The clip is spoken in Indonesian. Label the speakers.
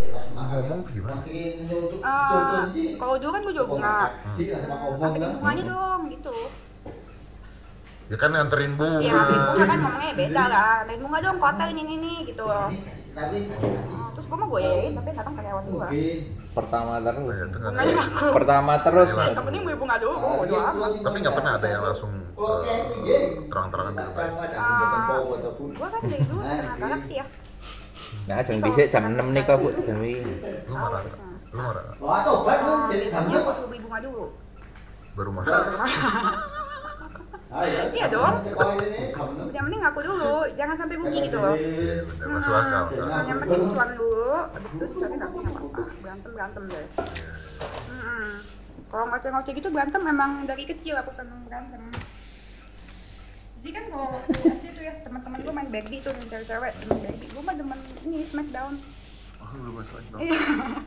Speaker 1: ngomong gimana?
Speaker 2: Masukin contoh contoh
Speaker 3: Ah,
Speaker 2: ini.
Speaker 3: kalau dulu kan gue juga
Speaker 2: Kontak
Speaker 3: bunga.
Speaker 2: aksi lah sama ngomong
Speaker 3: Pakai
Speaker 2: lah.
Speaker 3: bunganya dong gitu.
Speaker 1: Ya kan nganterin bunga.
Speaker 3: Ya, ngapain bunga kan ngomongnya beda lah. Main bunga dong, kota ini ini ini gitu.
Speaker 2: Ini kasih- tapi kasih- kasih.
Speaker 3: Oh, Terus gue mah gue yain, tapi yang datang karyawan gue.
Speaker 2: Mungkin.
Speaker 4: pertama terus
Speaker 1: Ya, itu nggak ada.
Speaker 3: Bunganya aku.
Speaker 4: pertama terus
Speaker 1: Iya.
Speaker 3: Yang penting gue bunga dulu, gue
Speaker 2: Ah,
Speaker 3: bodo
Speaker 2: iya,
Speaker 3: amat.
Speaker 2: closing
Speaker 1: Tapi nggak pernah ada
Speaker 2: kontak.
Speaker 1: yang langsung,
Speaker 2: Oke,
Speaker 1: eh,
Speaker 2: ini geng.
Speaker 1: terang-terangan gitu.
Speaker 2: Tidak
Speaker 1: diapain.
Speaker 2: ada
Speaker 3: Ah.
Speaker 2: hambatan bau ataupun.
Speaker 3: Gue kan dari dulu
Speaker 2: Nah,
Speaker 3: anak galak sih ya.
Speaker 4: nah jam bisik jam 6 nih kok bu tiga wi
Speaker 1: Lu marah nggak? Lu marah nggak?
Speaker 2: Wah, tobat lu
Speaker 3: Ah,
Speaker 2: jadi
Speaker 3: Biasanya
Speaker 2: sama.
Speaker 3: gue suruh beli bunga dulu.
Speaker 1: Baru marah.
Speaker 2: Ah, iya.
Speaker 3: Iya dong.
Speaker 2: Sekolah ini, kamu.
Speaker 3: Yang penting ngaku dulu, jangan sampai rugi gitu loh.
Speaker 1: Iya,
Speaker 2: Iya.
Speaker 1: bener. Masuk akal. Nah.
Speaker 3: Hmm, yang penting tuan dulu, habis itu sisanya nggak punya apa-apa. Berantem berantem deh.
Speaker 1: Iya.
Speaker 3: Mm-mm. Kalau ngoceh-ngoceh gitu berantem emang dari kecil aku seneng berantem. Jadi kan kalau waktu SD tuh ya teman-teman gue main baggy tuh main cewek-cewek main baggy. Gue mah demen ini smackdown.
Speaker 1: Aku belum masuk akal.
Speaker 3: Iya.